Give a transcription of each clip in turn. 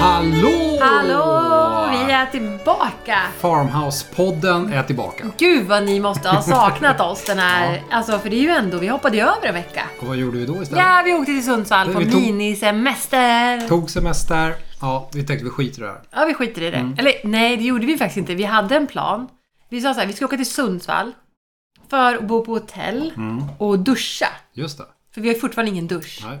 Hallå! Hallå! Vi är tillbaka! Farmhouse-podden är tillbaka. Gud vad ni måste ha saknat oss den här... Alltså för det är ju ändå, vi hoppade ju över en vecka. Och vad gjorde vi då istället? Ja, vi åkte till Sundsvall på Vi tog- minisemester. Tog semester. Ja, vi tänkte vi skiter i det här. Ja, vi skiter i det. Mm. Eller nej, det gjorde vi faktiskt inte. Vi hade en plan. Vi sa så här, vi ska åka till Sundsvall för att bo på hotell Mm. och duscha. Just det. För vi har ju fortfarande ingen dusch. Nej.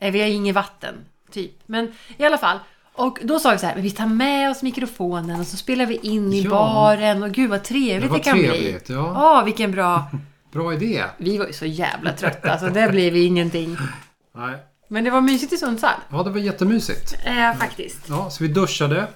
Nej, vi har inget vatten, typ. Men i alla fall. Och då sa vi så här, men vi tar med oss mikrofonen och så spelar vi in i Ja. baren och gud vad trevligt det, var kan bli. trevligt, ja. Ja, vilken bra. Bra idé. Vi var ju så jävla trötta, alltså det blev ju ingenting. Nej. Men det var mysigt i Sundsvall. Ja, det var jättemysigt. Eh, faktiskt. Ja, så vi duschade.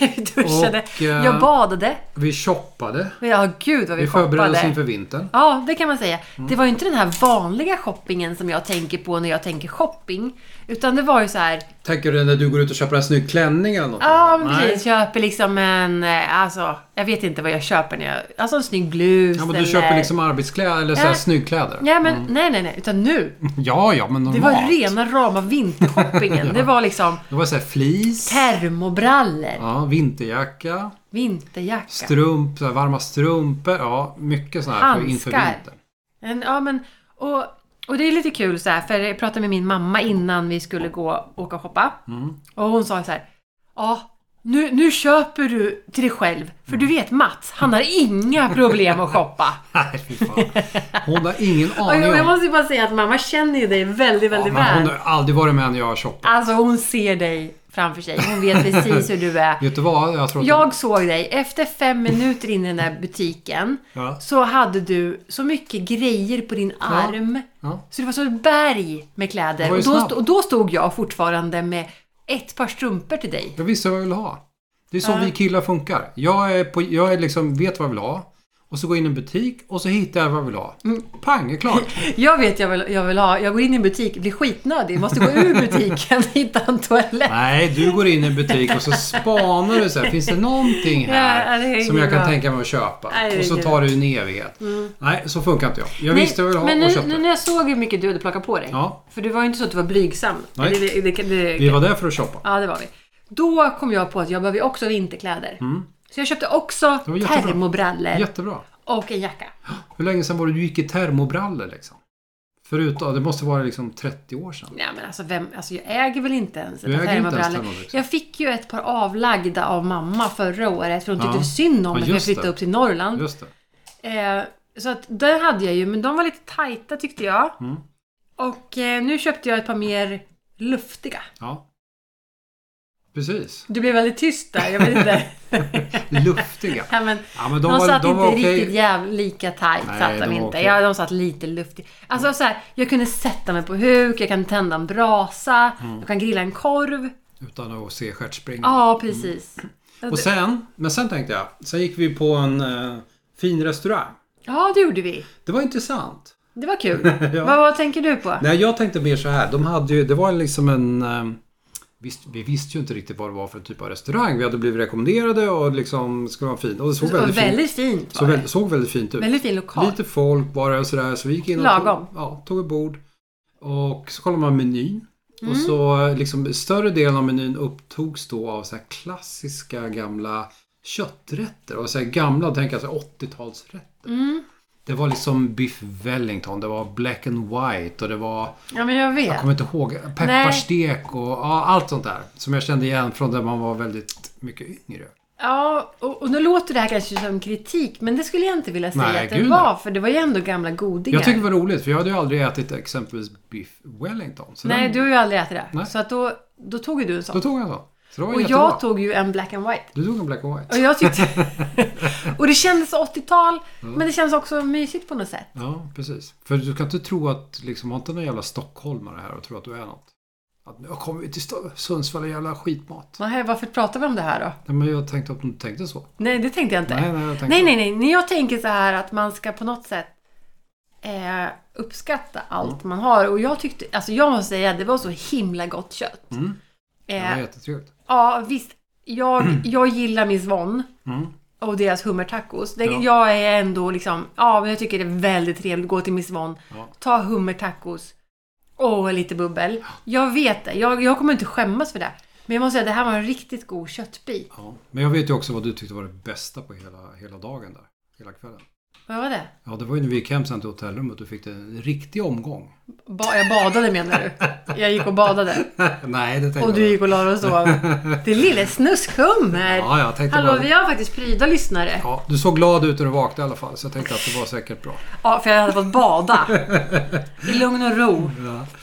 Vi duschade, Och, eh, jag badade. Vi shoppade. Men ja, gud vad vi, Vi förberedde oss shoppade. inför Mm. vintern. Ja, det kan man säga. Det var ju inte den här vanliga shoppingen som jag tänker på när jag tänker shopping. Utan det var ju så här, Tänker du när du går ut och köper en snygg klänning eller något? Ja, men Nej. precis. Köper liksom en... eh, Alltså, jag vet inte vad jag köper när jag... Alltså en snygg blus Ja, men eller... du köper liksom Mm. arbetskläder eller så här Ja. snyggkläder. Nej, men nej, nej, nej. Utan nu. Ja, ja, men Det normalt. var rena rama vintershoppingen. Det var liksom Det var så här fleece. termobrallor, Ja, vinterjacka. vinterjacka. Strump, så här, varma strumpor. Ja, mycket sånt här för inför Handskar. vintern. En, ja, men... Och, och det är lite kul så här, för jag pratade med min mamma innan vi skulle gå och åka och shoppa. Mm. Och hon sa så här, ja, nu, nu köper du till dig själv. För Mm. du vet Mats, han har inga problem att shoppa. Nej, fy fan. Hon har ingen Och aning jag, jag om... måste ju bara säga att mamma känner ju dig väldigt, Ja, väldigt men väl. hon har aldrig varit med när jag har shoppat. Alltså hon ser dig framför sig. Hon vet precis hur du är. Vet du vad? Jag tror att... Jag såg dig, efter fem minuter in i den där butiken Ja. så hade du så mycket grejer på din arm. Ja. Så det var som ett berg med var kläder. ju Och då, snabb. st- och då stod jag fortfarande med ett par strumpor till dig. Jag visste vad jag ville ha. Det är så vi killar funkar. Jag, är på, jag är liksom, vet vad jag vill ha. Och så går jag in i en butik och så hittar jag vad jag vill ha. Mm. Pang, är klart. Jag vet jag vill, jag vill ha, jag går in i en butik, blir skitnödig, måste gå ur butiken, hitta en toalett. Nej, du går in i en butik och så spanar du så här. Finns det någonting Ja, det här är som jag kan bra. tänka mig att köpa? Nej, det är Och så ingen Mm. tar det en evighet. Nej, så funkar inte jag. Jag visste vad jag men ville ha och nu, nu köpte. när jag såg hur mycket du hade plockat på dig. Ja. För det var ju inte så att du var blygsam. Nej. Eller Det, det, det, Vi var där för att shoppa. Ja, det var vi. Då kom jag på att jag behöver ju också vinterkläder. Så jag köpte också Mm. Det var jättebra. termobrallor Jättebra. och en jacka. Hur länge sedan var det du gick i termobrallor liksom? Förutom, det måste vara liksom 30 år sedan. Nej, men alltså, vem, alltså jag äger väl inte ens Du äger inte ens termobrallor. Jag fick ju ett par avlagda av mamma förra året för hon tyckte Ja. synd om Ja, mig för jag just det. flyttade upp till Norrland. Just det. Eh, så att den hade jag ju, men de var lite tajta tyckte jag. Mm. Och eh, nu köpte jag ett par mer luftiga. Ja. Precis. Du blev väldigt tyst där, jag vet inte. Luftiga. ja, men, Ja, men De, de, var, satt de inte var okej. riktigt jäv, lika tight Nej, satt de, de var inte. okej. Ja, de satt lite luftigt. Alltså så här, jag kunde sätta mig på huk, jag kan tända en brasa, Mm. jag kan grilla en korv. Utan att se stjärtspringa. Ja, precis. och sen, men sen tänkte jag. Sen gick vi på en eh, fin restaurang. Ja, det gjorde vi. Det var intressant. Det var kul. vad, vad tänker du på? Nej, jag tänkte mer så här. De hade ju, det var liksom en... eh, Visst, vi visste ju inte riktigt vad det var för typ av restaurang. Vi hade blivit rekommenderade och liksom skulle vara fin. Och det såg Det var väldigt, fint. väldigt fint. Så var det. väldigt, såg väldigt fint ut. Väldigt fin lokal. Lite folk bara och sådär. Så vi gick in och Lagom. Tog, ja, tog ett bord. Och så kollade man menyn. Och Mm. så liksom större delen av menyn upptogs då av så här klassiska gamla kötträtter. Och så här gamla, tänk alltså 80-talsrätter. Mm. Det var liksom biff wellington, det var black and white och det var, Ja, men jag vet. jag kommer inte ihåg, pepparstek och ja, allt sånt där. Som jag kände igen från när man var väldigt mycket yngre. Ja, och, och nu låter det här kanske som kritik, men det skulle jag inte vilja säga Nej, att det gud, var. För det var ju ändå gamla godingar. Jag tycker det var roligt för jag hade ju aldrig ätit exempelvis biff wellington. Så Nej, den, du har ju aldrig ätit det. Nej. Så att då, då tog ju du en Då sån. tog jag en sån. Så det var Och jättebra. jag tog ju en black and white. Du tog en black and white. Och jag tyckte... och det kändes 80-tal, men det kändes också mysigt på något sätt. Ja, precis. För du kan inte tro att, liksom, har inte någon jävla stockholmare här och tror att du är något. Att nu kommer vi till Sto- Sundsvall och jävla skitmat. Nej, varför pratar vi om det här då? Nej, men jag tänkte att du tänkte så. Nej, det tänkte jag inte. Nej, nej, jag tänkte nej, nej, nej. När jag tänker så här att man ska på något sätt eh, uppskatta allt man har. Och jag tyckte, alltså jag måste säga, det var så himla gott kött. Mm. Det var Eh, jättetrevligt. ja, visst. jag, jag gillar min Svon Mm. och deras hummertacos. Det, Ja. Jag är ändå liksom, ja men jag tycker det är väldigt trevligt att gå till min Svon. Ja. Ta hummertacos och lite bubbel. Jag vet det, jag, jag kommer inte skämmas för det. Men jag måste säga, det här var en riktigt god köttbit. Ja. Men jag vet ju också vad du tyckte var det bästa på hela, hela dagen där. Hela kvällen. Vad var det? Ja, det var ju när vi gick hem sen till hotellrummet och fick det en riktig omgång. Ba, jag badade menar du? Jag gick och badade. Nej, det tänkte Och jag du gick och la dig och sov. Din lille snuskhummer! Ja, jag tänkte Hallå, bara... vi har faktiskt pryda lyssnare. Ja, du såg glad ut när du vaknade i alla fall, så jag tänkte att det var säkert bra. Ja, för jag hade fått bada. I lugn och ro.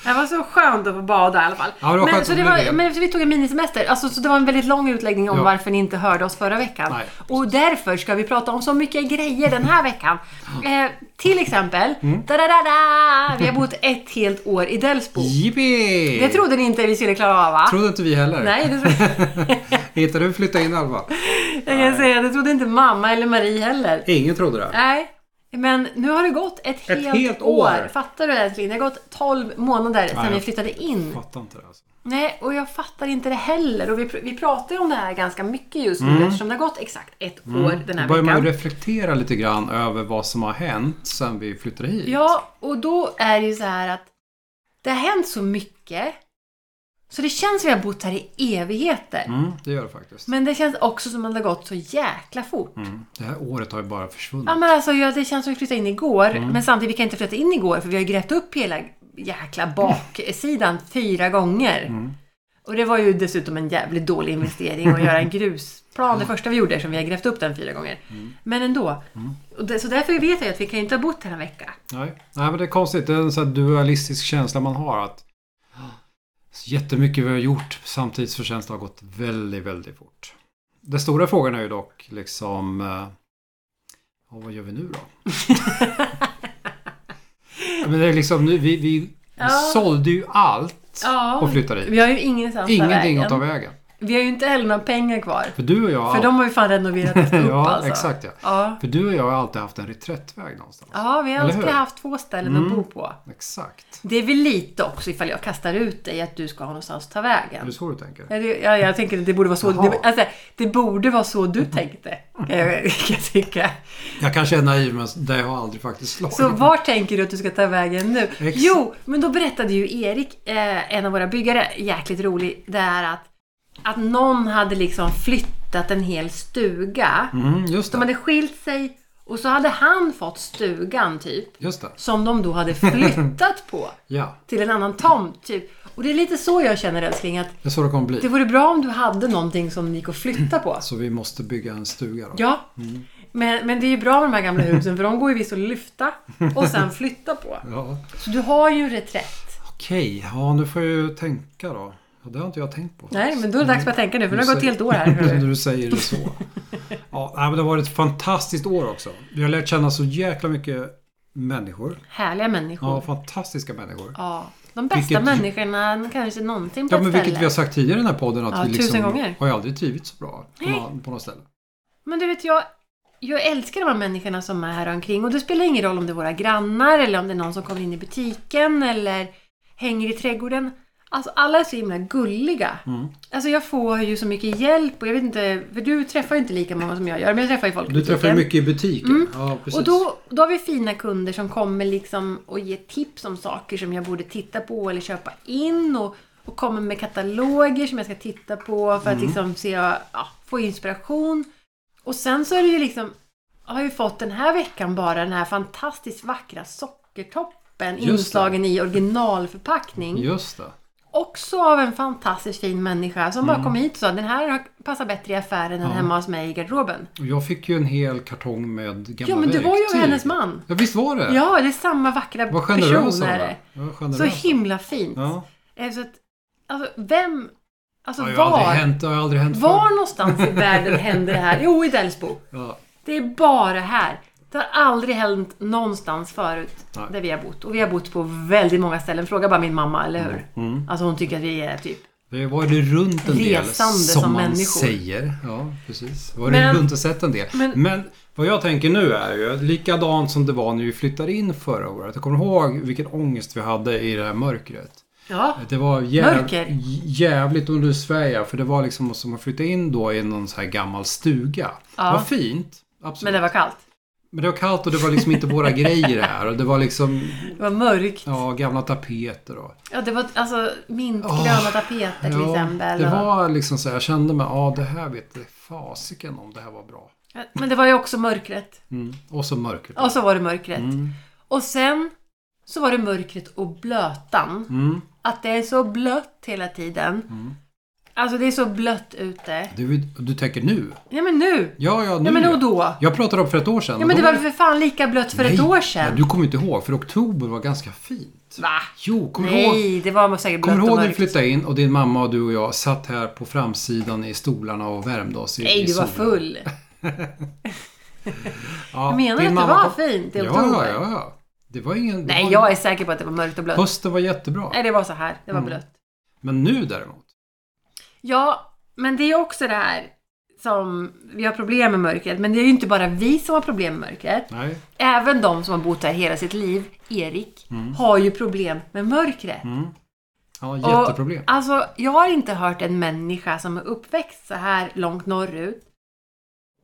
Det var så skönt att få bada i alla fall. Ja, det var men, skönt så att det bli var, det. men vi tog en minisemester. Alltså, så det var en väldigt lång utläggning om Ja. varför ni inte hörde oss förra veckan. Nej, och därför ska vi prata om så mycket grejer den här veckan. Eh, till exempel, Mm. da, da, da, da, vi har bott ett helt år i Delsbo. Jippi! Det trodde ni inte vi skulle klara av va? Trodde inte vi heller. Nej, det trodde Inte du flyttade in Alva? Jag kan säga, det trodde inte mamma eller Marie heller. Ingen trodde det. Nej, men nu har det gått ett, Ett helt, helt år. år. Fattar du det älskling? Det har gått 12 månader sedan Nej. vi flyttade in. Fattar inte det alltså. Nej, och jag fattar inte det heller. Och vi, pr- vi pratar ju om det här ganska mycket just nu eftersom det har gått exakt ett år den här Då Mm. börjar man ju veckan. reflektera lite grann över vad som har hänt sen vi flyttade hit. Ja, och då är det ju så här att det har hänt så mycket så det känns som vi har bott här i evigheter. Mm, det gör det faktiskt. Men det känns också som att det har gått så jäkla fort. Mm. Det här året har ju bara försvunnit. Ja men alltså ja, det känns som vi flyttade in igår. Mm. Men samtidigt, vi kan inte flytta in igår för vi har ju grävt upp hela jäkla baksidan fyra gånger. Mm. Och det var ju dessutom en jävligt dålig investering att göra en grusplan Mm. det första vi gjorde som vi har grävt upp den fyra gånger. Men ändå. Och det, så därför vet jag ju att vi kan ju inte ha bott här en vecka. Nej. Nej, men det är konstigt. Det är en sån här dualistisk känsla man har. att så Jättemycket vi har gjort samtidigt så känns det har gått väldigt, väldigt fort. Den stora frågan är ju dock liksom... eh, Ja, vad gör vi nu då? Ja, men det är liksom nu, vi, vi Ja. sålde ju allt Ja. och flyttade hit. Vi har ju ingenstans Ingenting vägen. att ta vägen. Vi har ju inte heller några pengar kvar. För du och jag... För de har ju fan renoverat upp ja, alltså. exakt ja. Ja. För du och jag har alltid haft en reträttväg någonstans. ja, vi har Eller alltid hur? Mm. haft två ställen att bo på. Exakt. Det är väl lite också ifall jag kastar ut dig att du ska ha någonstans att ta Är vägen. det så du tänker? Ja, det- ja, jag tänker att det borde vara så. Jaha. Det, alltså, det borde vara så du tänkte. Kan jag, kan jag tycka. Jag kanske är naiv, men det har aldrig faktiskt slagit. Så var tänker du att du ska ta vägen nu? Exakt. Jo, men då berättade ju Erik, eh, en av våra byggare, jäkligt rolig, det är att, att någon hade liksom flyttat en hel stuga. Mm, just De det. hade skilt sig och så hade han fått stugan typ. Just det. Som de då hade flyttat på. Ja, till en annan tomt. Typ. Och det är lite så jag känner älskling. Att det är så det kommer det bli. vore bra om du hade någonting som ni gick och flytta på. Så vi måste bygga en stuga då. Ja. Men, men det är ju bra med de här gamla husen för de går ju visst att lyfta och sen flytta på. Ja. Så du har ju en reträtt. Okej, ja nu får jag ju tänka då. Ja, det har inte jag tänkt på. Nej, men då är det dags för att tänka nu för Nu det har gått säger- ett helt år här. När du säger det så. Ja, nej, men det har varit ett fantastiskt år också. Vi har lärt känna så jäkla mycket människor. Härliga Ja, människor. fantastiska människor. Ja. De bästa Vilket- människorna kanske någonsin på Ja, ett men vilket vi ställe. har sagt tidigare i den här podden att Ja, vi liksom tusen gånger. har ju aldrig trivits så bra på, Nej. någon, på något ställe. Men du vet, jag, jag älskar de här människorna som är här omkring. Och det spelar ingen roll om det är våra grannar eller om det är någon som kommer in i butiken eller hänger i trädgården. Alltså alla är så himla gulliga. Mm. Alltså jag får ju så mycket hjälp och jag vet inte, för du träffar ju inte lika många som jag gör, men jag träffar ju folk i Du träffar ju butiken. mycket i butiken. Ja, precis. Mm. Och då, då har vi fina kunder som kommer liksom och ger tips om saker som jag borde titta på eller köpa in och, och kommer med kataloger som jag ska titta på för att Mm. liksom se, ja, få inspiration. Och sen så är det ju liksom, jag har ju fått den här veckan bara den här fantastiskt vackra sockertoppen Just det. inslagen i originalförpackning. Just det. Också av en fantastiskt fin människa som Mm. bara kom hit och sa den här har- passar bättre i affären än hemma hos mig i garderoben. Och jag fick ju en hel kartong med gamla Ja men det var ju av verktyg. hennes man. Ja, visst var det? Ja, det är samma vackra Vad generös person. han är var. det. Ja, Så generös. himla fint. Ja. Eh, Så att, alltså, vem... Alltså, Ja, det har aldrig var, hänt, det har aldrig hänt var förr. någonstans i världen händer det här? Jo, i Delsbo. Ja, Det är bara här. Det har aldrig hänt någonstans förut Nej. där vi har bott. Och vi har bott på väldigt många ställen. Fråga bara min mamma, eller hur? Mm. Alltså hon tycker att vi är typ... det var det runt en del, Resande som, som man människor. säger. Ja, precis. Var Men- det runt och sett en del. men- Men, vad jag tänker nu är ju likadant som det var när vi flyttade in förra året. Jag kommer ihåg vilken ångest vi hade i det här mörkret. Ja. Det var jäv, Mörker. jävligt under Sverige för det var liksom som att flytta in då i någon så här gammal stuga. Ja. Det var fint. Absolut. Men det var kallt. Men det var kallt och det var liksom inte våra grejer här. Och det var liksom Det var mörkt. ja, gamla tapeter och... Ja, det var alltså mintgröna Åh, tapeter till exempel. det och- var liksom så här, jag kände mig, ja det här vet jag fasiken om det här var bra. Men det var ju också mörkret. Mm. Och så mörkret. Och så var det mörkret. Mm. Och sen så var det mörkret och blötan. Mm. Att det är så blött hela tiden. Alltså det är så blött ute. Du, du tänker nu? Ja men nu! Ja, ja, nu. Ja men och då? Jag pratade om för ett år sedan. Ja men det Då- var för fan lika blött för ett Nej, år sedan. men Du kommer inte ihåg, för oktober var ganska fint. Va? Jo, kommer du ihåg? Nej, det var säkert Kommer blött du och ihåg när vi mörkt. flyttade in och din mamma och du och jag satt här på framsidan i stolarna och värmde oss i Nej, i du var solen? full. Ja, Jag menar att din det mamma var kom- fint i ja, oktober. ja, ja, ja. Det var ingen... Nej, det var... jag är säker på att det var mörkt och blött. Hösten var jättebra. Nej, det var så här. Det var Mm. blött. Men nu däremot. Ja, men det är också det här som vi har problem med mörkret. Men det är ju inte bara vi som har problem med mörkret. Nej. Även de som har bott här hela sitt liv, Erik, Mm. har ju problem med mörkret. Mm. Ja, Och, jätteproblem. Alltså, jag har inte hört en människa som är uppväxt så här långt norrut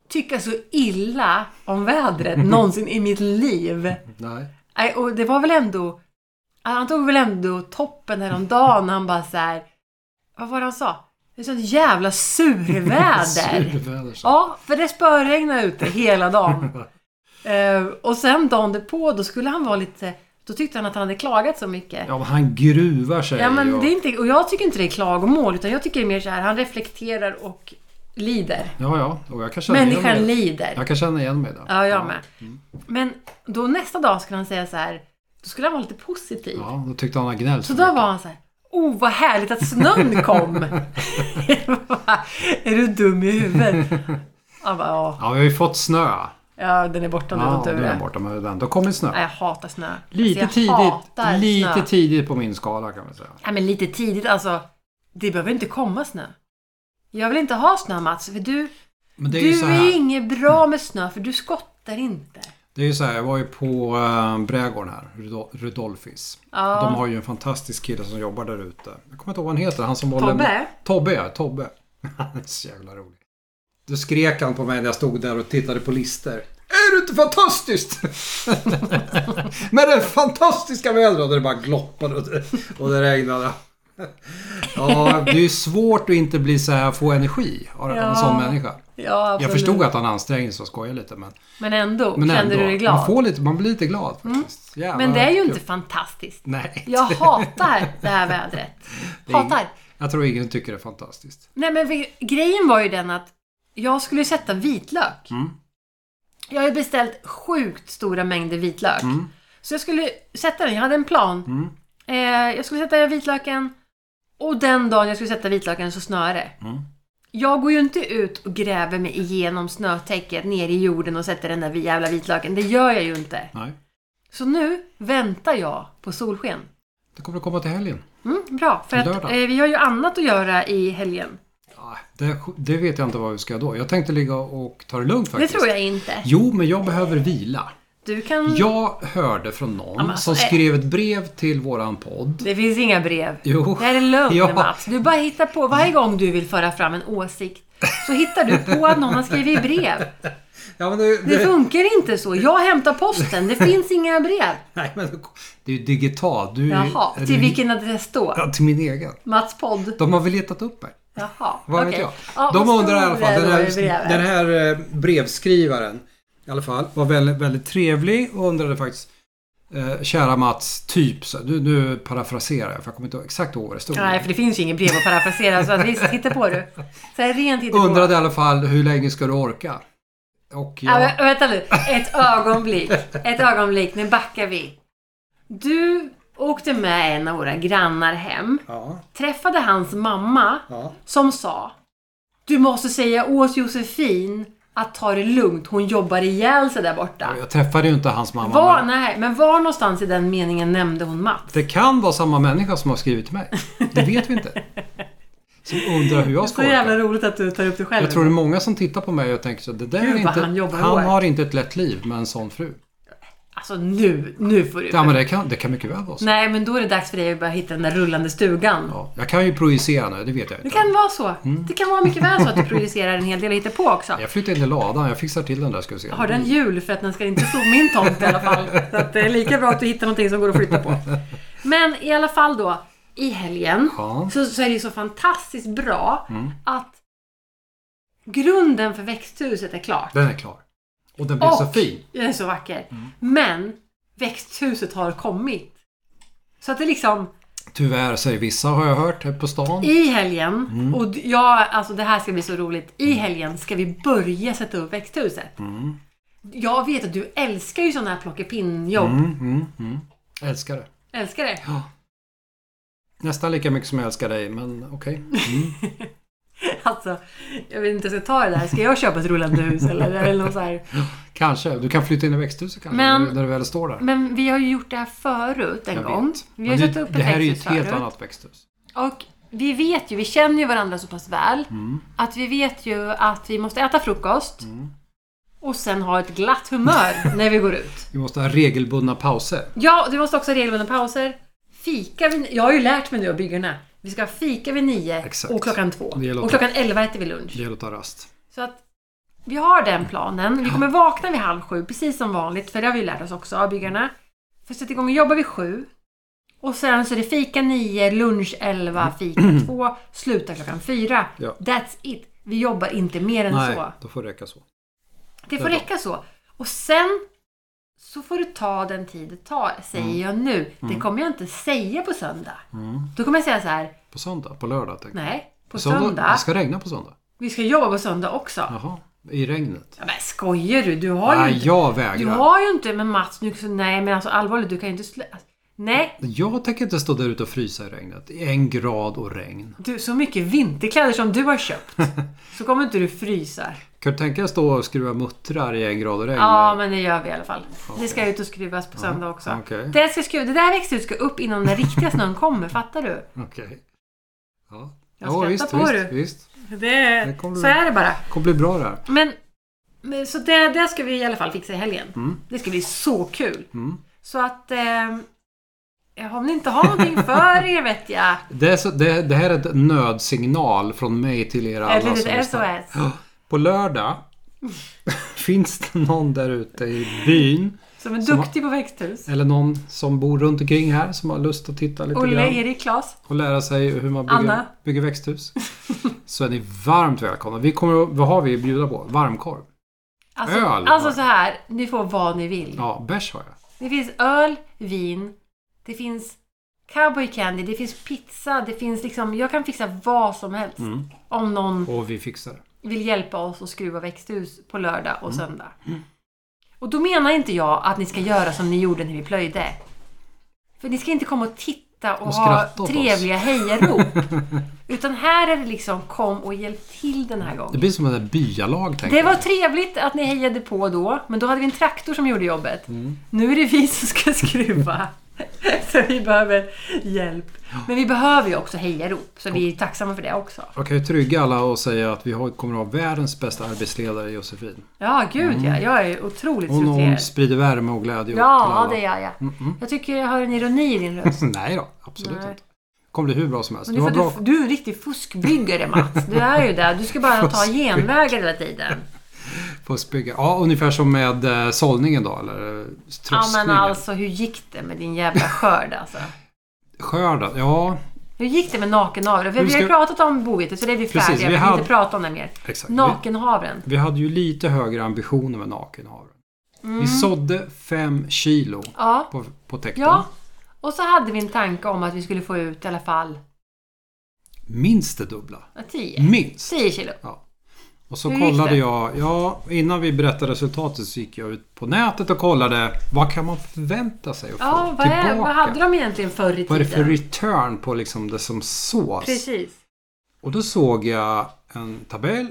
tycka så illa om vädret någonsin i mitt liv. Nej. Nej, och det var väl ändå... Han tog väl ändå toppen häromdagen när han bara så här... Vad var det han sa? Det är sånt jävla surväder. Surväder. så. ja, för det spöregnade ute hela dagen. Eh, och sen dagen på då skulle han vara lite... Då tyckte han att han hade klagat så mycket. Ja, men han gruvar sig. Ja, men och... det är inte, och jag tycker inte det är klagomål, utan jag tycker det är mer så här, han reflekterar och lider. ja, ja. Och jag kan känna igen Människan mig. lider. Jag kan känna igen mig där. Ja, jag med. Mm. Men då nästa dag skulle han säga så här, då skulle han vara lite positiv. Ja, då tyckte han att han gnällt Så för då mycket. var han så här, oh vad härligt att snön kom! Jag bara, är du dum i huvudet? Han bara, ja, Ja, vi har ju fått snö. ja den är borta nu, Ja, vad då tur är den är. borta med den. Då kommer snö. Nej, jag hatar snö. Lite alltså, jag hatar tidigt, lite snö. tidigt på min skala kan man säga. Nej, men lite tidigt alltså. Det behöver inte komma snö. Jag vill inte ha snö Mats, för du, Men det är ju så du är här. inget bra med snö för du skottar inte. Det är ju så här, jag var ju på äh, Brädgården här, Rudo- Rudolfis. Ja. De har ju en fantastisk kille som jobbar där ute. Jag kommer inte ihåg vad han heter. Han som var Tobbe? Tobbe ja, Tobbe. Han är så jävla rolig. Då skrek han på mig när jag stod där och tittade på lister. Är det inte fantastiskt? Med det fantastiska vädret och det bara gloppade och det, och det regnade. Ja, det är ju svårt att inte bli så här, få energi av av en Ja, sån människa. Ja, absolut. Jag förstod att han ansträngde sig och skojade lite men, Men ändå, men kände du dig glad? Mm. Man, får lite, man blir lite glad faktiskt. Jävlar, Men det är ju kul. inte fantastiskt. Nej. Jag hatar det här vädret. Det är ing- Hatar. Jag tror ingen tycker det är fantastiskt. Nej men vi- grejen var ju den att jag skulle sätta vitlök. Mm. Jag har ju beställt sjukt stora mängder vitlök. Så jag skulle sätta den, jag hade en plan. Mm. Eh, jag skulle sätta vitlöken och den dagen jag skulle sätta vitlöken så snöade det. Mm. Jag går ju inte ut och gräver mig igenom snötäcket ner i jorden och sätter den där jävla vitlöken. Det gör jag ju inte. Nej. Så nu väntar jag på solsken. Det kommer att komma till helgen. Mm, bra, för att eh, Lördag. vi har ju annat att göra i helgen. Ja, Det, det vet jag inte vad vi ska göra då. Jag tänkte ligga och ta det lugnt faktiskt. Det tror jag inte. Jo, men jag behöver vila. Du kan... Jag hörde från någon men alltså, som eh. skrev ett brev till våran podd. Det finns inga brev. Jo. Det här är lugn Ja. Mats. Du bara hittar på. Varje gång du vill föra fram en åsikt så hittar du på att någon har skrivit brev. Ja, men det, Det funkar inte så. Jag hämtar posten. Det finns inga brev. nej, men det- det är ju digitalt. Du, är ju- Jaha, är till du- vilken adress då? Ja, till min egen. Mats podd? Mm. De har väl letat upp mig. Jaha, Vad vet okej. jag? Ja, De vad undrar i står alla fall. Den det då i här, brevet? den här eh, brevskrivaren i alla fall var väldigt, väldigt trevlig och undrade faktiskt eh, Kära Mats, typ så. Nu, nu parafraserar jag för jag kommer inte ihåg exakt ihåg vad det stod. Nej, för det finns ju inget brev att parafrasera så att visst, hitta på du. Så här rent hitta på. Undrade i alla fall hur länge ska du orka? Och Ja. jag, vä- vänta nu, ett ögonblick. Ett ögonblick, nu backar vi. Du åkte med en av våra grannar hem, ja, träffade hans mamma ja. som sa Du måste säga åt Josefin att ta det lugnt, hon jobbar ihjäl sig där borta. jag träffade ju inte hans mamma. Var, men nej, men var någonstans i den meningen nämnde hon Mats? Det kan vara samma människa som har skrivit till mig. Det vet vi inte. Som undrar hur jag Så ska jävla orka. roligt att du tar upp det själv. Jag tror det är många som tittar på mig och tänker så det där Gud, är vad inte... han jobbar hårt. har inte ett lätt liv med en sån fru. Alltså nu, nu får du... Ja, men det kan, det kan mycket väl vara så. Nej, men då är det dags för dig att börja hitta den där rullande stugan. Ja, jag kan ju projicera nu, det vet jag Det inte. kan vara så. Mm. Det kan vara mycket väl så att du projicerar en hel del och hittar på också. Jag flyttar in i ladan, jag fixar till den där ska vi se. Har den hjul för att den ska inte stå på min tomt i alla fall. Så att det är lika bra att du hittar någonting som går att flytta på. Men i alla fall då, i helgen Ja. Mm. så, så är det ju så fantastiskt bra att grunden för växthuset är klar. Den är klar. Och den blev så Och- fin. Mm. Den är så vacker. Men växthuset har kommit. Så att det liksom, Tyvärr säger vissa har jag hört här på stan. i helgen, Mm. och d- ja, alltså det här ska bli så roligt. I helgen ska vi börja sätta upp växthuset. Mm. Jag vet att du älskar ju sådana här plockepinn-jobb. Mm, mm, mm. Älskar det. Älskar det. Nästan lika mycket som jag älskar dig, men okej. Alltså, jag vet inte hur jag ska ta det där. Ska jag köpa ett rullande hus eller? eller något så här? Kanske. Du kan flytta in i växthuset kanske, Men- när du väl står där. Men vi har ju gjort det här förut en Jag gång. vet. Vi har Men satt det, upp ett det här är ju ett växthus helt förut. annat växthus. Och vi vet ju, vi känner ju varandra så pass väl Mm. att vi vet ju att vi måste äta frukost och sen ha ett glatt humör när vi går ut. Vi måste ha regelbundna pauser. Ja, och du måste också ha regelbundna pauser. Fika vid, jag har ju lärt mig nu av byggarna. Vi ska fika vid nio Exakt. och klockan två. Det gäller Och att- klockan elva äter vi lunch. Det gäller att ta rast. Så att vi har den planen. Vi kommer vakna vid halv sju, precis som vanligt, för det har vi ju lärt oss också av byggarna. För sätta igång och jobba vid sju. Och sen så är det fika nio, lunch elva, fika två, sluta klockan fyra. Mm. Ja. That's it. Vi jobbar inte mer än Nej, så. då får det räcka så. Det det får är bra. räcka så. Och sen så får du ta den tid det tar, säger Mm. jag nu. Det kommer jag inte säga på söndag. Då kommer jag säga så här, På söndag? På lördag? Tänk. nej, på söndag, söndag. Det ska regna på söndag? Vi ska jobba på söndag också. Jaha, i regnet? Ja, men skojar du? Du har ju Nej, inte jag Du vägrar. har ju inte, men Mats, nu, så, nej men alltså allvarligt, du kan ju inte slä... alltså, Nej, Jag tänker inte stå där ute och frysa i regnet. I En grad och regn. du, så mycket vinterkläder som du har köpt så kommer inte du frysa. Kan du tänka dig att stå och skruva muttrar i en grad och regn? Ja, men det gör vi i alla fall. Det ska ut och skruvas på söndag också. Ah, Okej. Det, ska skruva, det där växthuset ska upp innan den riktiga snön kommer, fattar du? Okej. Ja. Jag ja, skrattar visst, på visst, du. visst. Det, Det kommer så du- är det bara. Det kommer bli bra det här. Men, men så det, det ska vi i alla fall fixa i helgen. Det ska bli så kul. Mm. Så att... Eh, om ni inte har någonting för er vet jag. Det, är så, det, det här är ett nödsignal från mig till er alla. Ett som litet lyssnar. SOS. Ja. På lördag finns det någon där ute i byn Som är Som- duktig på växthus. eller någon som bor runt omkring här som har lust att titta lite Olle, grann Erik, Klas. och lära sig hur man bygger, Anna. bygger växthus. Så är ni varmt välkomna. Vi kommer, att- vad har vi att bjuda på? Varmkorv. Alltså, Öl. alltså så här, ni får vad ni vill. Ja, bärs har jag. Det finns öl, vin, det finns cowboy candy, det finns pizza, det finns liksom, jag kan fixa vad som helst. Mm. Om någon Och vi fixar det. vill hjälpa oss att skruva växthus på lördag Mm. och söndag. Och då menar inte jag att ni ska göra som ni gjorde när vi plöjde. För ni ska inte komma och titta och, Och ha skratta åt oss. trevliga hejarop. Utan här är det liksom kom och hjälp till den här gången. Det blir som ett där byalag tänker Det var jag. trevligt att ni hejade på då, men då hade vi en traktor som gjorde jobbet. Mm. Nu är det vi som ska skruva. så vi behöver hjälp. Men vi behöver ju också hejarop, så vi är tacksamma för det också. Jag kan ju trygga alla och säga att vi har, kommer att ha världens bästa arbetsledare Josefin. Ja, gud ja. Mm. Jag är otroligt Hon, hon frustrerad. sprider värme och glädje åt till Ja, alla. Mm, det gör jag. Jag tycker jag hör en ironi i din röst. Nej då, absolut Nej. inte. kommer bli hur bra som helst. Men Du du, har bra... får- du, du är en riktig fuskbyggare Mats. Du är ju det. Du ska bara ta genvägar hela tiden. fuskbygga. Ja, ungefär som med eh, sållningen då, eller eh, Ja, tröskningen. men alltså hur gick det med din jävla skörd alltså? Skörden, ja Hur gick det med nakenhavren? För Hur vi har ju ska- pratat om bovetet så det är vi Precis, färdiga. vi vi behöver hade- inte prata om det mer. exakt. Vi, Nakenhavren. vi hade ju lite högre ambitioner med nakenhavren. Mm. Vi sådde fem kilo Ja. på, på täkten. ja. Och så hade vi en tanke om att vi skulle få ut i alla fall Minst det dubbla. 10. Minst. 10 kilo. Och så Typ. Hur gick kollade det? jag, ja innan vi berättade resultatet så gick jag ut på nätet och kollade vad kan man förvänta sig att Ja, få vad, tillbaka? är, vad hade de egentligen förr i tiden? Vad är det för return på liksom det som sås? Precis. Och då såg jag en tabell.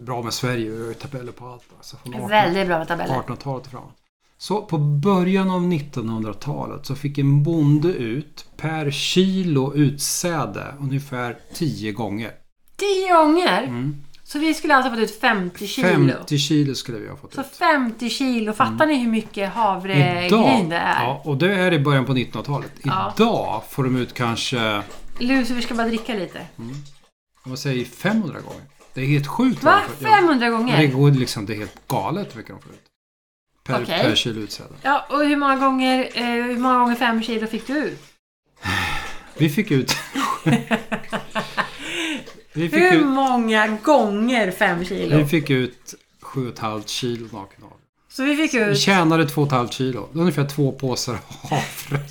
Bra med Sverige, vi har ju tabeller på allt. Alltså från 1800- Väldigt bra med tabeller. 1800-talet och framåt. Så på början av 1900-talet så fick en bonde ut per kilo utsäde ungefär 10 gånger. Mm. 10 gånger? Så vi skulle alltså ha fått ut 50 kilo. 50 kilo skulle vi ha fått Så ut. 50 kilo. Fattar ni hur mycket havregryn det är? Mm. ja, och det är i början på 1900-talet. Ja. Idag får de ut kanske, Lucifer ska bara dricka lite. Mm. vad säger 500 gånger. Det är helt sjukt. vad Va? de får- ja. 500 Men Det gånger? går liksom, det är helt galet hur mycket de får ut. Per, Okej. per kilo utsäde. Ja, och hur många gånger, eh, hur många gånger 5 kilo fick du ut? Vi fick ut... vi, fick Hur ut många gånger 5 vi kilo? fick ut 7,5 kilo nakenhavre. Så vi fick Vi ut... tjänade 2,5 kilo. Det är Ungefär två påsar havre.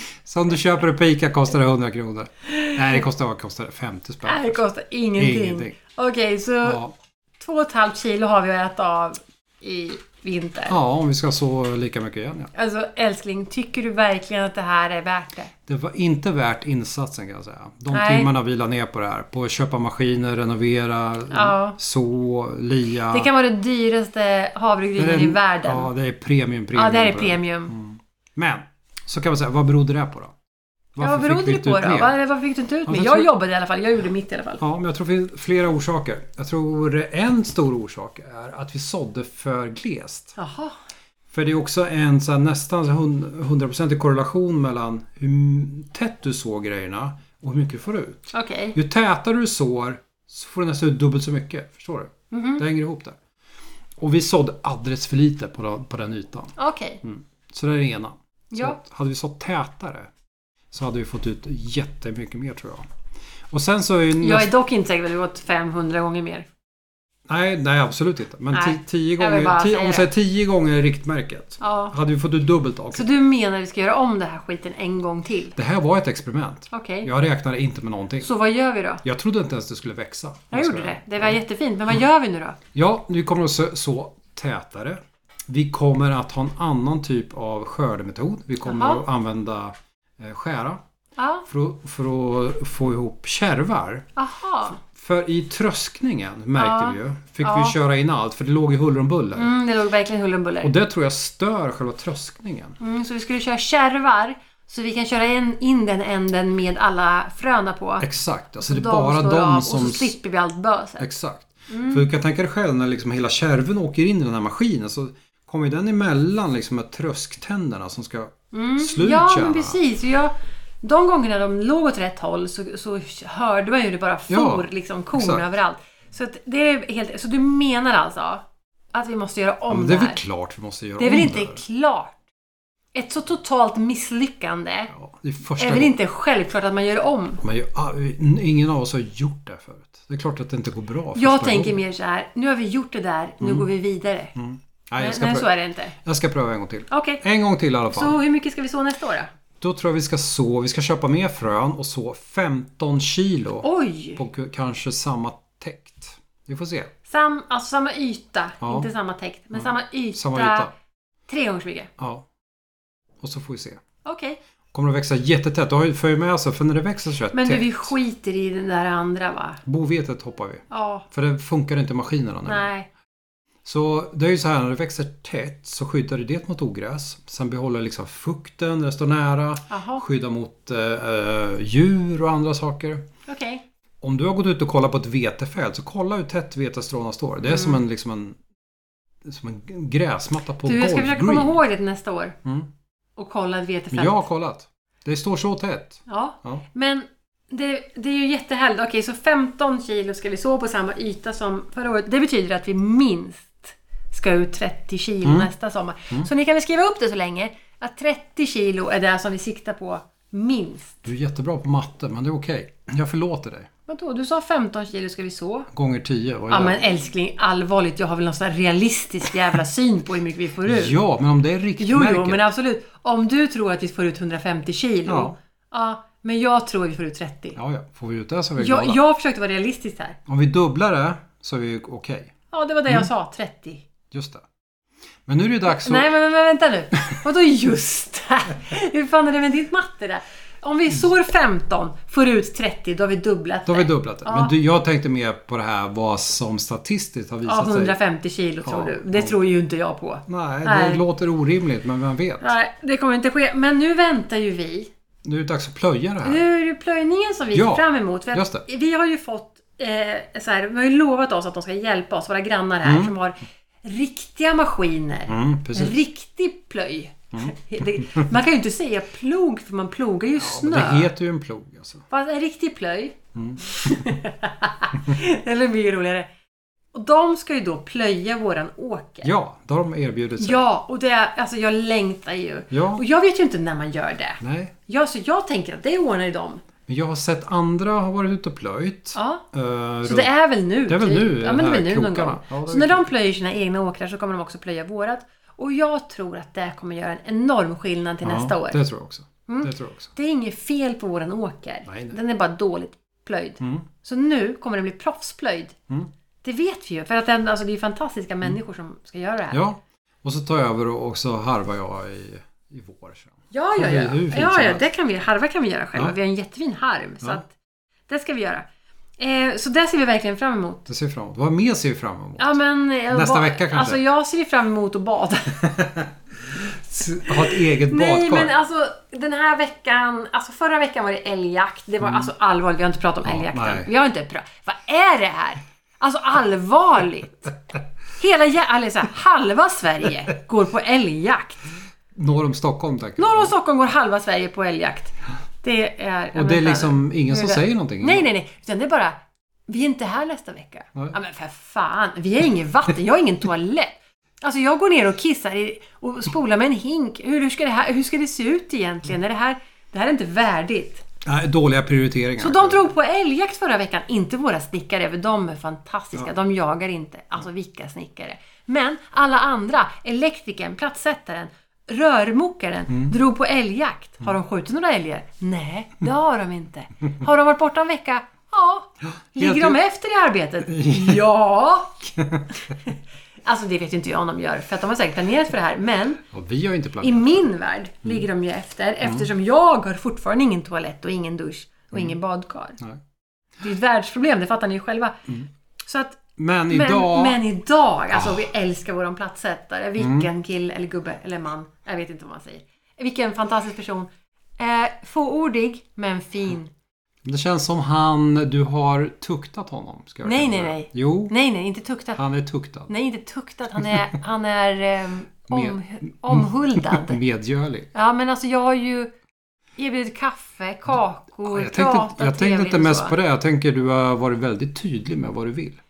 Som du köper på Ica kostar det 100 kronor. Nej, det kostar, vad kostar det? 50 Nej, det spänn. kostar ingenting. Ingenting. Okej, så Ja. 2,5 kilo har vi att äta av i vinter. ja, om vi ska så lika mycket igen. Ja. Alltså älskling, tycker du verkligen att det här är värt det? Det var inte värt insatsen kan jag säga. De Nej. timmarna vi la ner på det här. På att köpa maskiner, renovera, Ja. så, lia. Det kan vara den dyraste havregrynen i världen. Ja, Ja, det är Mm. premium, premium. det här är på premium. Men, så kan man säga, vad berodde det här på då? Ja, vad Varför berodde fick det vi på inte ut då? mer? Var- Varför fick du inte ut Ja, mer? jag Jag tror- jobbade i alla fall. Jag gjorde mitt i alla fall. Ja, men jag tror det finns flera orsaker. Jag tror en stor orsak är att vi sådde för glest. Jaha. För det är också en så här, nästan hun- 100% korrelation mellan hur tätt du sår grejerna och hur mycket du får ut. Okej. Ju tätare du sår så får du nästan ut dubbelt så mycket. Förstår du? Mhm. Det hänger ihop där. Och vi sådde alldeles för lite på, de- på den ytan. Okej. Så det är det ena. Så Ja. att hade vi sått tätare så hade vi fått ut jättemycket mer tror jag. Och sen så är ju nästa... Jag är dock inte säker på att det gått 500 gånger mer. Nej, nej absolut inte. Men Nej. ti- tio Jag vill bara gånger, ti- säga om det. vi säger tio gånger riktmärket. Ja. Hade vi fått ut dubbelt av. Så du menar vi ska göra om den här skiten en gång till? Det här var ett experiment. Okej. Jag räknade inte med någonting. Så vad gör vi då? Jag trodde inte ens det skulle växa. Jag gjorde det. Det var jättefint. Men vad gör vi nu då? Ja, vi kommer att så, så tätare. Vi kommer att ha en annan typ av skördemetod. Vi kommer Jaha. att använda eh, skära Ja. för att, för att få ihop kärvar. Aha. För i tröskningen märkte Ja. vi ju, fick Ja. vi köra in allt för det låg i huller om buller. Mm, det låg verkligen huller om buller. Och det tror jag stör själva tröskningen. Mm, så vi skulle köra kärvar. Så vi kan köra in, in den änden med alla fröna på. Exakt, alltså det är De bara slår de av som... Och så Mm. slipper vi allt böset. Exakt. För du kan tänka dig själv när liksom hela kärven åker in i den här maskinen så kommer ju den emellan liksom med trösktänderna som ska sluta Mm. Ja, men kärnan. precis. Jag, de gångerna de låg åt rätt håll så, så hörde man ju det bara for Ja, liksom korn exakt. överallt. Så, att det är helt, så du menar alltså att vi måste göra Ja, om men det, det är här? väl klart vi måste göra det är väl om inte det här. klart? Ett så totalt misslyckande Ja, det är första är väl gången. inte självklart att man gör om? Man gör, ah, ingen av oss har gjort det här förut. Det är klart att det inte går bra Jag första tänker gången. mer så här, nu har vi gjort det där, nu går vi vidare. Mm. Nej, jag, Men, ska men så pröva, är det inte. jag ska pröva en gång till. Okej, En gång till i alla fall. så hur mycket ska vi så nästa år då? Då tror jag vi ska så, vi ska köpa mer frön och så 15 kilo Oj! på k- kanske samma täkt. Vi får se. Sam, alltså samma yta, Ja. inte samma täkt, men samma yta. Samma yta. Tre gånger så mycket. Ja. Och så får vi se. Okej. Kommer det växa jättetätt. Det har ju- för ju med alltså, för när det växer så här Men du, tätt. vi skiter i den där andra va? Bovetet hoppar vi. Ja. För det funkar inte i maskinerna nu. Nej. Så det är ju så här när det växer tätt så skyddar det det mot ogräs. Sen behåller liksom fukten när det står nära. Jaha. Skyddar mot eh, eh, djur och andra saker. Okej. Om du har gått ut och kollat på ett vetefält så kolla hur tätt vetestråna står. Mm. Det är som en liksom en som en gräsmatta på Du, jag ska golfgreen. försöka komma ihåg det till nästa år. Mm. Och kolla ett vetefält. Men jag har kollat. Det står så tätt. Ja. Ja. Men det, det är ju jättehärligt. Okej, så 15 kilo ska vi så på samma yta som förra året. Det betyder att vi minst ska ut 30 kilo nästa sommar. Så ni kan väl skriva upp det så länge. Att 30 kilo är det som vi siktar på minst. Du är jättebra på matte, men det är okej. Jag förlåter dig. Vadå? Du sa 15 kilo ska vi så. Gånger 10. vad är Ja det? men älskling, allvarligt. Jag har väl någon sån här realistisk jävla syn på hur mycket vi får ut. ja, men om det är Jo, riktmärket. jo, men absolut. Om du tror att vi får ut 150 kilo. Ja. Ja. men jag tror att vi får ut 30. Ja, ja. Får vi ut det så är vi glada. jag, jag försökte vara realistisk här. Om vi dubblar det så är vi okej. Ja, det var det Mm. jag sa. 30. Just det. Men nu är det dags att... Nej, men, men, men vänta nu. Vadå just det? Hur fan är det med ditt matte där? Om vi sår 15, får ut 30, då har vi dubblat Då har vi det. dubblat det. Men du, jag tänkte mer på det här vad som statistiskt har Ja, visat sig. 150 kilo tror Ja, du. Det tror ju inte jag på. Nej, det Nej. låter orimligt, men vem vet? Nej, det kommer inte ske. Men nu väntar ju vi Nu är det dags att plöja det här. Nu är det plöjningen som vi Ja, ser fram emot. För att just vi har ju fått eh, så här, de har ju lovat oss att de ska hjälpa oss, våra grannar här, som har riktiga maskiner. Mm, En precis. Mm. riktig plöj. Det- man kan ju inte säga plog, för man plogar ju Men snö. det heter Mm. ju en plog alltså. Fast en riktig plöj. Eller mycket roligare. Och de ska ju då plöja våran åker. Ja, då har de erbjudit sig. Ja, och det, alltså jag längtar ju. Ja. Och jag vet ju inte när man gör det. Nej. Ja, så jag tänker att det ordnar ju de. Men jag har sett andra ha varit ute och plöjt. Ja. Eh, Så runt- det är väl nu? Det är väl typ. nu, Ja, men det är här väl nu någon krokarna. gång. Ja, det är så när väl de plöjer sina egna åkrar så kommer de också plöja vårat. Och jag tror att det kommer göra en enorm skillnad till Ja, nästa år. Mm. Det tror jag också. Det tror jag också. Det är inget fel på våran åker. Nej, nej. Den är bara dåligt plöjd. Mm. Så nu kommer den bli proffsplöjd. Det vet vi ju. För att den, alltså, det är ju fantastiska människor som ska göra det här. Ja. Och så tar jag över och och så harvar jag i, i vår sen. Ja, ja, Det blir ja. hur fint ja, som ja helst. det kan vi, harva kan vi göra själva. Ja. Vi har en jättefin harm. Så Ja. att, det ska vi göra. Eh, så det ser vi verkligen fram emot. Det ser jag fram emot. Vad mer ser vi fram emot? Ja, men, eh, Nästa ba- vecka kanske? Alltså jag ser ju fram emot att bada. S- Ha ett eget Nej, badkar. men alltså den här veckan. Alltså förra veckan var det älgjakt. Det var alltså allvarligt. Vi har inte pratat om Mm. Ja, älgjakten. nej. Vi har inte pratat. Vad är det här? Alltså allvarligt. Hela jä- eller så här, halva Sverige går på älgjakt. Norr om Stockholm tänker Norr jag. om Stockholm går halva Sverige på älgjakt. Det är... ja, Och det är men- liksom ingen som Hur är det? säger någonting. Nej, nej, nej. Utan det är bara, vi är inte här nästa vecka. Nej. Ja, men för fan. Vi har ingen vatten. Jag har ingen toalett. Alltså jag går ner och kissar i, och spolar med en hink. Hur, hur, ska det här, hur ska det se ut egentligen? Är det, här, det här är inte värdigt. Nej, dåliga prioriteringar. Så de drog på älgjakt förra veckan. Inte våra snickare, för de är fantastiska. De jagar inte. Alltså vilka snickare. Men alla andra, elektrikern, plattsättaren, rörmokaren, drog på älgjakt. Har de skjutit några älgar? Nej, det har de inte. Har de varit borta en vecka? Ja. Ligger de efter i arbetet? Ja. Alltså det vet ju inte jag om de gör, för att de har säkert planerat för det här. Men Ja, vi har ju inte i planerat. min värld Mm. ligger de ju efter eftersom jag har fortfarande ingen toalett och ingen dusch och ingen badkar. Mm. Nej. Mm. Det är ett världsproblem, det fattar ni ju själva. Så att, Men men, idag... Ah. Mm. men idag, alltså vi älskar våran plattsättare. Vilken kille eller gubbe eller man. Jag vet inte vad man säger. Vilken fantastisk person. Eh, fåordig, men Mm. fin. Det känns som han... Du har tuktat honom. Ska jag Nej, kalla nej, det. nej. Jo, Nej, nej, inte tuktat. han är tuktad. Nej, inte tuktat. Han är, han är eh, om, Med- omhuldad. Medgörlig. Ja, men alltså jag har ju erbjudit kaffe, kakor, Jag tänkte, jag tänkte inte mest på det. det. Jag tänker du har varit väldigt tydlig med vad du vill.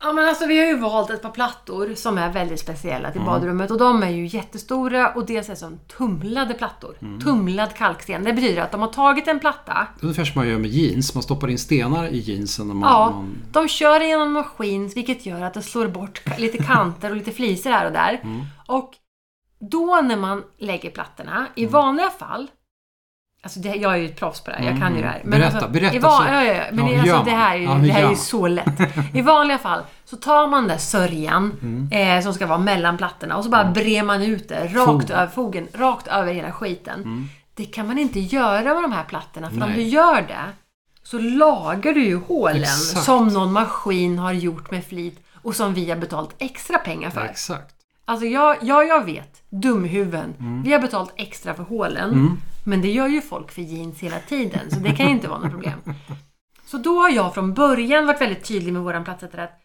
Ja, men alltså vi har ju valt ett par plattor som är väldigt speciella Mm. till badrummet och de är ju jättestora och dels är det som tumlade plattor. Mm. Tumlad kalksten. Det betyder att de har tagit en platta, Det är ungefär som man gör med jeans. Man stoppar in stenar i jeansen. När man, ja, man, de kör genom en maskin vilket gör att det slår bort ka- lite kanter och lite fliser här och där. Mm. Och då när man lägger plattorna, Mm. i vanliga fall Alltså det, jag är ju ett proffs på det här, jag kan ju det här. Berätta, alltså, berätta I van, så- ja, ja, ja. Men Ja, hur gör alltså, man? det här är ju, Ja, hur det här gör är man? ju så lätt. I vanliga fall så tar man den där sörjan Mm. eh, som ska vara mellan plattorna och så bara brer man ut det rakt Fogen. Mm. över fogen, rakt över hela skiten. Det kan man inte göra med de här plattorna för om Nej. du gör det så lagar du ju hålen Exakt. som någon maskin har gjort med flit och som vi har betalat extra pengar för. Exakt. Alltså jag, ja, jag vet. Dumhuvuden. Mm. Vi har betalat extra för hålen. Men det gör ju folk för jeans hela tiden, så det kan ju inte vara något problem. Så då har jag från början varit väldigt tydlig med våran plattsättare att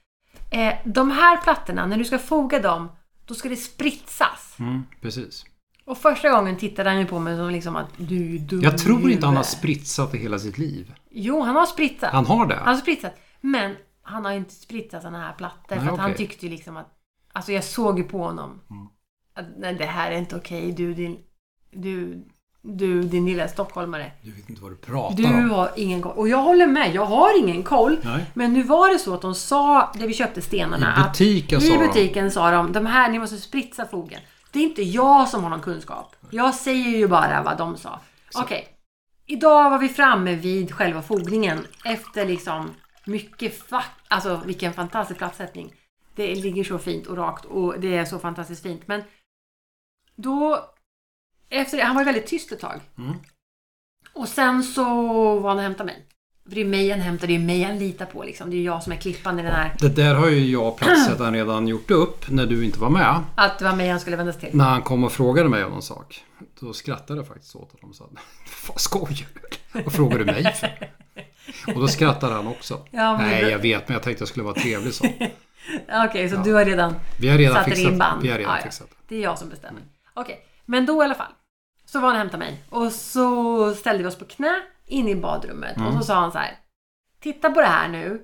eh, de här plattorna, när du ska foga dem, då ska det spritsas. Mm, precis. Och första gången tittade han ju på mig som liksom att du är ju dum Jag tror i inte han har huvudet." spritsat i hela sitt liv. Jo, han har spritsat. Han har Han det? har spritsat. Men han har inte spritsat såna här plattor. för Nej, att han okej. Mm. tyckte ju liksom att... Alltså jag såg ju på honom. Att nej, det här är inte okej. Du, din... Du, du, din lilla stockholmare. Du vet inte vad du pratar Du om. har ingen koll. Och jag håller med. Jag har ingen koll. Nej. Men nu var det så att de sa, där vi köpte stenarna, I butiken att sa i de. butiken sa de, de här, ni måste spritsa fogen. Det är inte jag som har någon kunskap. Jag säger ju bara vad de sa. Okej. Idag var vi framme vid själva fogningen efter liksom mycket fack. Alltså vilken fantastisk plattsättning. Det ligger så fint och rakt och det är så fantastiskt fint. Men då, efter det, han var väldigt tyst ett tag. Mm. Och sen så var han och hämtade mig. För det är mig han hämtar, det är mig han litar på liksom. Det är ju jag som är klippan i den här. Det där har ju jag och plattsättaren redan gjort upp när du inte var med. Att det var mig han skulle vända sig till. När han kom och frågade mig om någon sak. Då skrattade jag faktiskt åt honom och sa Vad skojar du? Vad frågar du mig för? Och då skrattar han också. Ja, men Nej, då- jag vet, men jag tänkte jag skulle vara trevlig så. Okej, så du har redan... Vi har redan Satte det i fixat en band. Vi har redan Ja, ja. fixat det. Det är jag som bestämmer. Okej, men då i alla fall. Så var han och hämtade mig och så ställde vi oss på knä in i badrummet och så sa han så här. Titta på det här nu.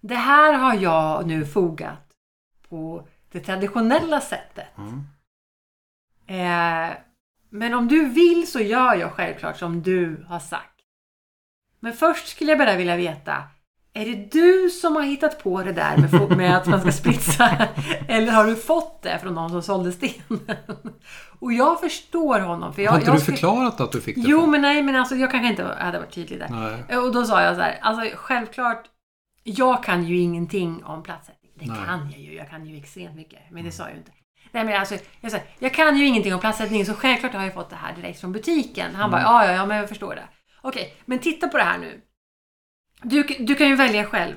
Det här har jag nu fogat på det traditionella sättet. Mm. Eh, men om du vill så gör jag självklart som du har sagt. Men först skulle jag bara vilja veta, är det du som har hittat på det där med, fo- med att man ska spritsa? Eller har du fått det från någon som sålde stenen? Och jag förstår honom. För jag, har inte jag du skulle- förklarat att du fick det? Jo, från- men nej, men alltså jag kanske inte hade varit tydlig där. Nej. Eh, Och då sa jag så här, alltså självklart, jag kan ju ingenting om platsättning. Det Nej. kan jag ju, jag kan ju extremt mycket. Men det sa jag ju inte. Nej men alltså, jag, sa, jag kan ju ingenting om platsättning så självklart har jag fått det här direkt från butiken. Han bara, ja ja, ja men jag förstår det. Okej, men titta på det här nu. Du, du kan ju välja själv.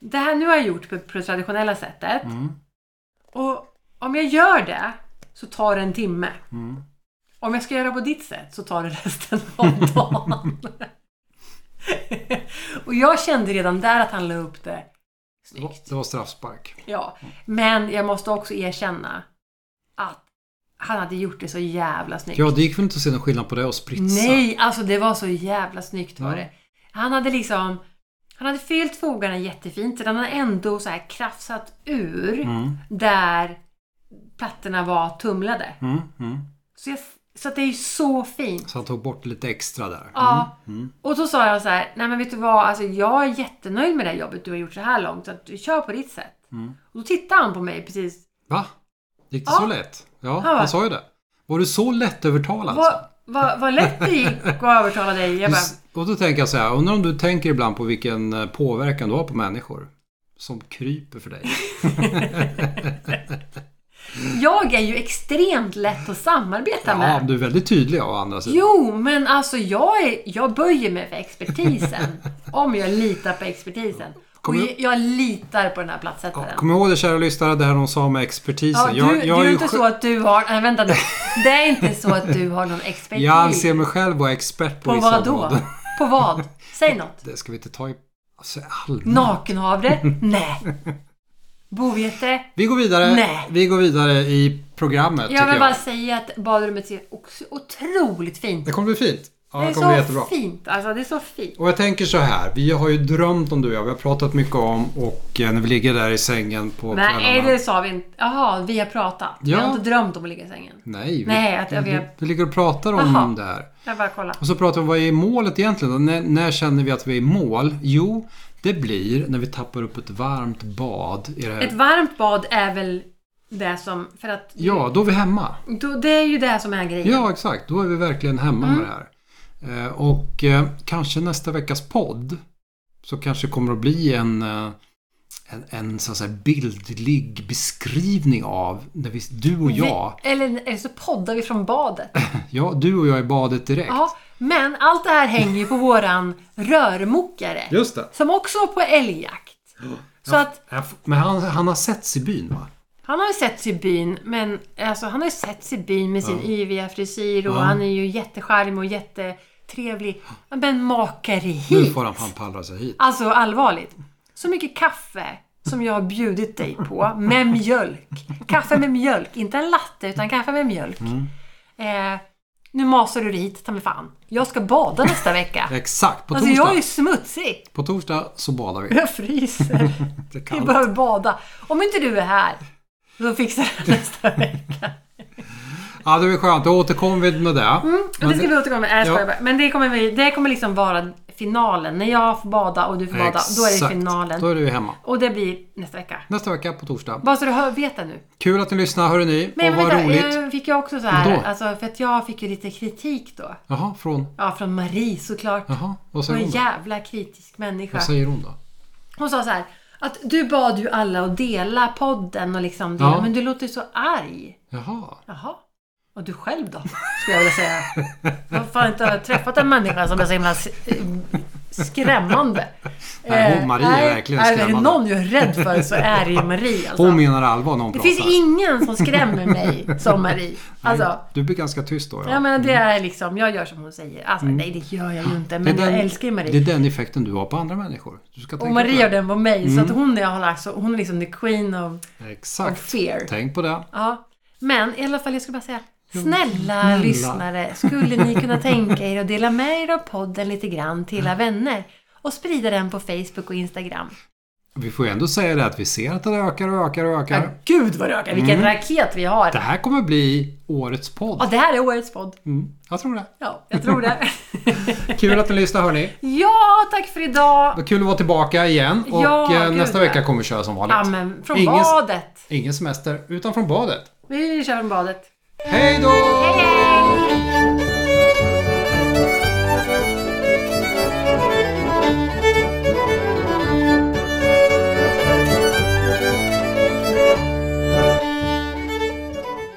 Det här nu har jag gjort på på det traditionella sättet. Mm. Och om jag gör det så tar det en timme. Mm. Om jag ska göra på ditt sätt så tar det resten av dagen. och jag kände redan där att han la upp det snyggt. Det var straffspark. Ja. Men jag måste också erkänna att han hade gjort det så jävla snyggt. Ja, det gick väl inte att se någon skillnad på det och spritsa? Nej, alltså det var så jävla snyggt var Ja. det. Han hade liksom han hade fyllt fogarna jättefint, sedan han hade ändå så här krafsat ur Mm. där plattorna var tumlade. Mm. Mm. Så, jag, så att det är ju så fint. Så han tog bort lite extra där. Ja. Mm. Mm. Och så sa jag så här, nej men vet du vad, alltså, jag är jättenöjd med det här jobbet du har gjort så här långt, så att du kör på ditt sätt. Mm. Och då tittade han på mig precis. Va? Gick det Ja. så lätt? Ja, Ja. han sa ju det. Var du så lättövertalad? alltså? sa Vad vad vad lätt det gick att övertala dig. Jag Du bara, s- Och då tänker jag så här, undrar om du tänker ibland på vilken eh, påverkan du har på människor som kryper för dig. jag är ju extremt lätt att samarbeta Ja, med. du är väldigt tydlig å andra sidan. Jo, men alltså jag, är, jag böjer mig för expertisen. om jag litar på expertisen. Och Kommer du- jag, jag litar på den här plattsättaren. Kom ihåg det kära lyssnare, det här hon sa med expertisen. Ja, du, jag, jag det är ju ju inte sj- så att du har... Nej, vänta nu. Det är inte så att du har någon expertis. jag anser mig själv vara expert på, På vissa vad då? områden. På vad? Säg något. Det ska vi inte ta i... Alltså, allmänt. Nakenhavre? Nej. Bovete? Vi går vidare. Nej. Vi går vidare i programmet, Jag tycker vill jag. bara säga att badrummet ser också otroligt fint Det ut. kommer bli fint. Ja, Det det, är kommer bli jättebra. så fint. Alltså, det är så fint. Och jag tänker så här, vi har ju drömt om du och jag. Vi har pratat mycket om och eh, när vi ligger där i sängen på Nej, det sa vi inte. Jaha, vi har pratat. Jag Ja. har inte drömt om att ligga i sängen. Nej, vi, Nej, att jag vi, vet. vi ligger och pratar om Jaha. det här. Jag bara kolla. Och så pratar vi om vad är målet egentligen? Och När, när känner vi att vi är i mål? Jo, det blir när vi tappar upp ett varmt bad i det här. Ett varmt bad är väl det som... För att... Ja, då är vi hemma. Då, det är ju det som är grejen. Ja, exakt. Då är vi verkligen hemma Mm. med det här. Eh, Och eh, kanske nästa veckas podd så kanske det kommer att bli en, eh, en, en så att säga bildlig beskrivning av när vi, du och jag, Vi, eller, eller så poddar vi från badet. ja, du och jag i badet direkt. Ja, men allt det här hänger ju på våran rörmokare. Just det. Som också var på älgjakt. Så att Ja, Eh, f- Men han, han har setts i byn va? han har ju sett i byn, men alltså han har ju sett i byn med sin yviga frisyr och Ja. han är ju jättecharmig och jättetrevlig. Men makar i Nu hit! får han fan pallra sig hit. Alltså allvarligt. Så mycket kaffe som jag har bjudit dig på med mjölk. Kaffe med mjölk, inte en latte utan kaffe med mjölk. Mm. Eh, nu masar du dig hit, ta mig fan. Jag ska bada nästa vecka. Exakt, på Alltså torsdag. jag är ju smutsig. På torsdag så badar vi. Jag fryser. Det är Vi kallt. behöver bada. Om inte du är här, då fixar jag det nästa vecka. Ja, det blir skönt. Då återkommer vi med det. Och det Mm. ska vi återkomma med. Nej, jag skojar Ja. bara. Men det kommer, vi, det kommer liksom vara finalen. När jag får bada och du får bada, då är det Exakt. finalen. Då är vi hemma. Och det blir nästa vecka. Nästa vecka på torsdag. Bara så du hör, vet det nu. Kul att ni lyssnar, hörde ni. Men och vad vänta, eh, roligt. jag fick ju också så här, Vadå? alltså, för att jag fick ju lite kritik då. Jaha, från? Ja, från Marie såklart. Jaha, vad Hon säger är en hon då? jävla kritisk människa. Vad säger hon då? Hon sa så här, att du bad ju alla att dela podden och liksom dela, Ja. men du låter ju så arg. Jaha. Jaha. Och du själv då? Skulle jag vilja säga. Jag har fan inte träffat en människa som är så himla s- skrämmande. Nej, hon- Eh, Marie är nej, verkligen nej, men skrämmande. Är det någon jag är rädd för så är det ju Marie. Alltså. Hon menar allvar när hon det pratar. finns ingen som skrämmer mig som Marie. Alltså, Nej, Du blir ganska tyst då. Ja. jag menar, det är liksom, jag gör som hon säger. Alltså, nej, det gör jag ju inte. Men Mm. det, är jag den, älskar ju Marie. det är den effekten du har på andra människor. Du ska och tänka Marie på har den på mig. Så Mm. att hon är, hon är, hon är liksom the queen of... det. och Exakt. fear. Tänk på det. Ja. Men i alla fall, jag skulle bara säga. Snälla, lyssnare, skulle ni kunna tänka er att dela med er av podden lite grann till Mm. era vänner? Och sprida den på Facebook och Instagram. Vi får ju ändå säga det att vi ser att det ökar och ökar och ökar. Ja, gud vad det ökar! Vilken Mm. raket vi har! Det här kommer bli årets podd. Ja, det här är årets podd. Mm, jag tror det. Ja, jag tror det. Kul att ni lyssnar hörni. ja, tack för idag! Vad kul att vara tillbaka igen. Och Ja, eh, gud, nästa ja. vecka kommer vi köra som vanligt. Ja, men från Ingen- badet. Ingen semester, utan från badet. Vi kör från badet. Hej då! Hej!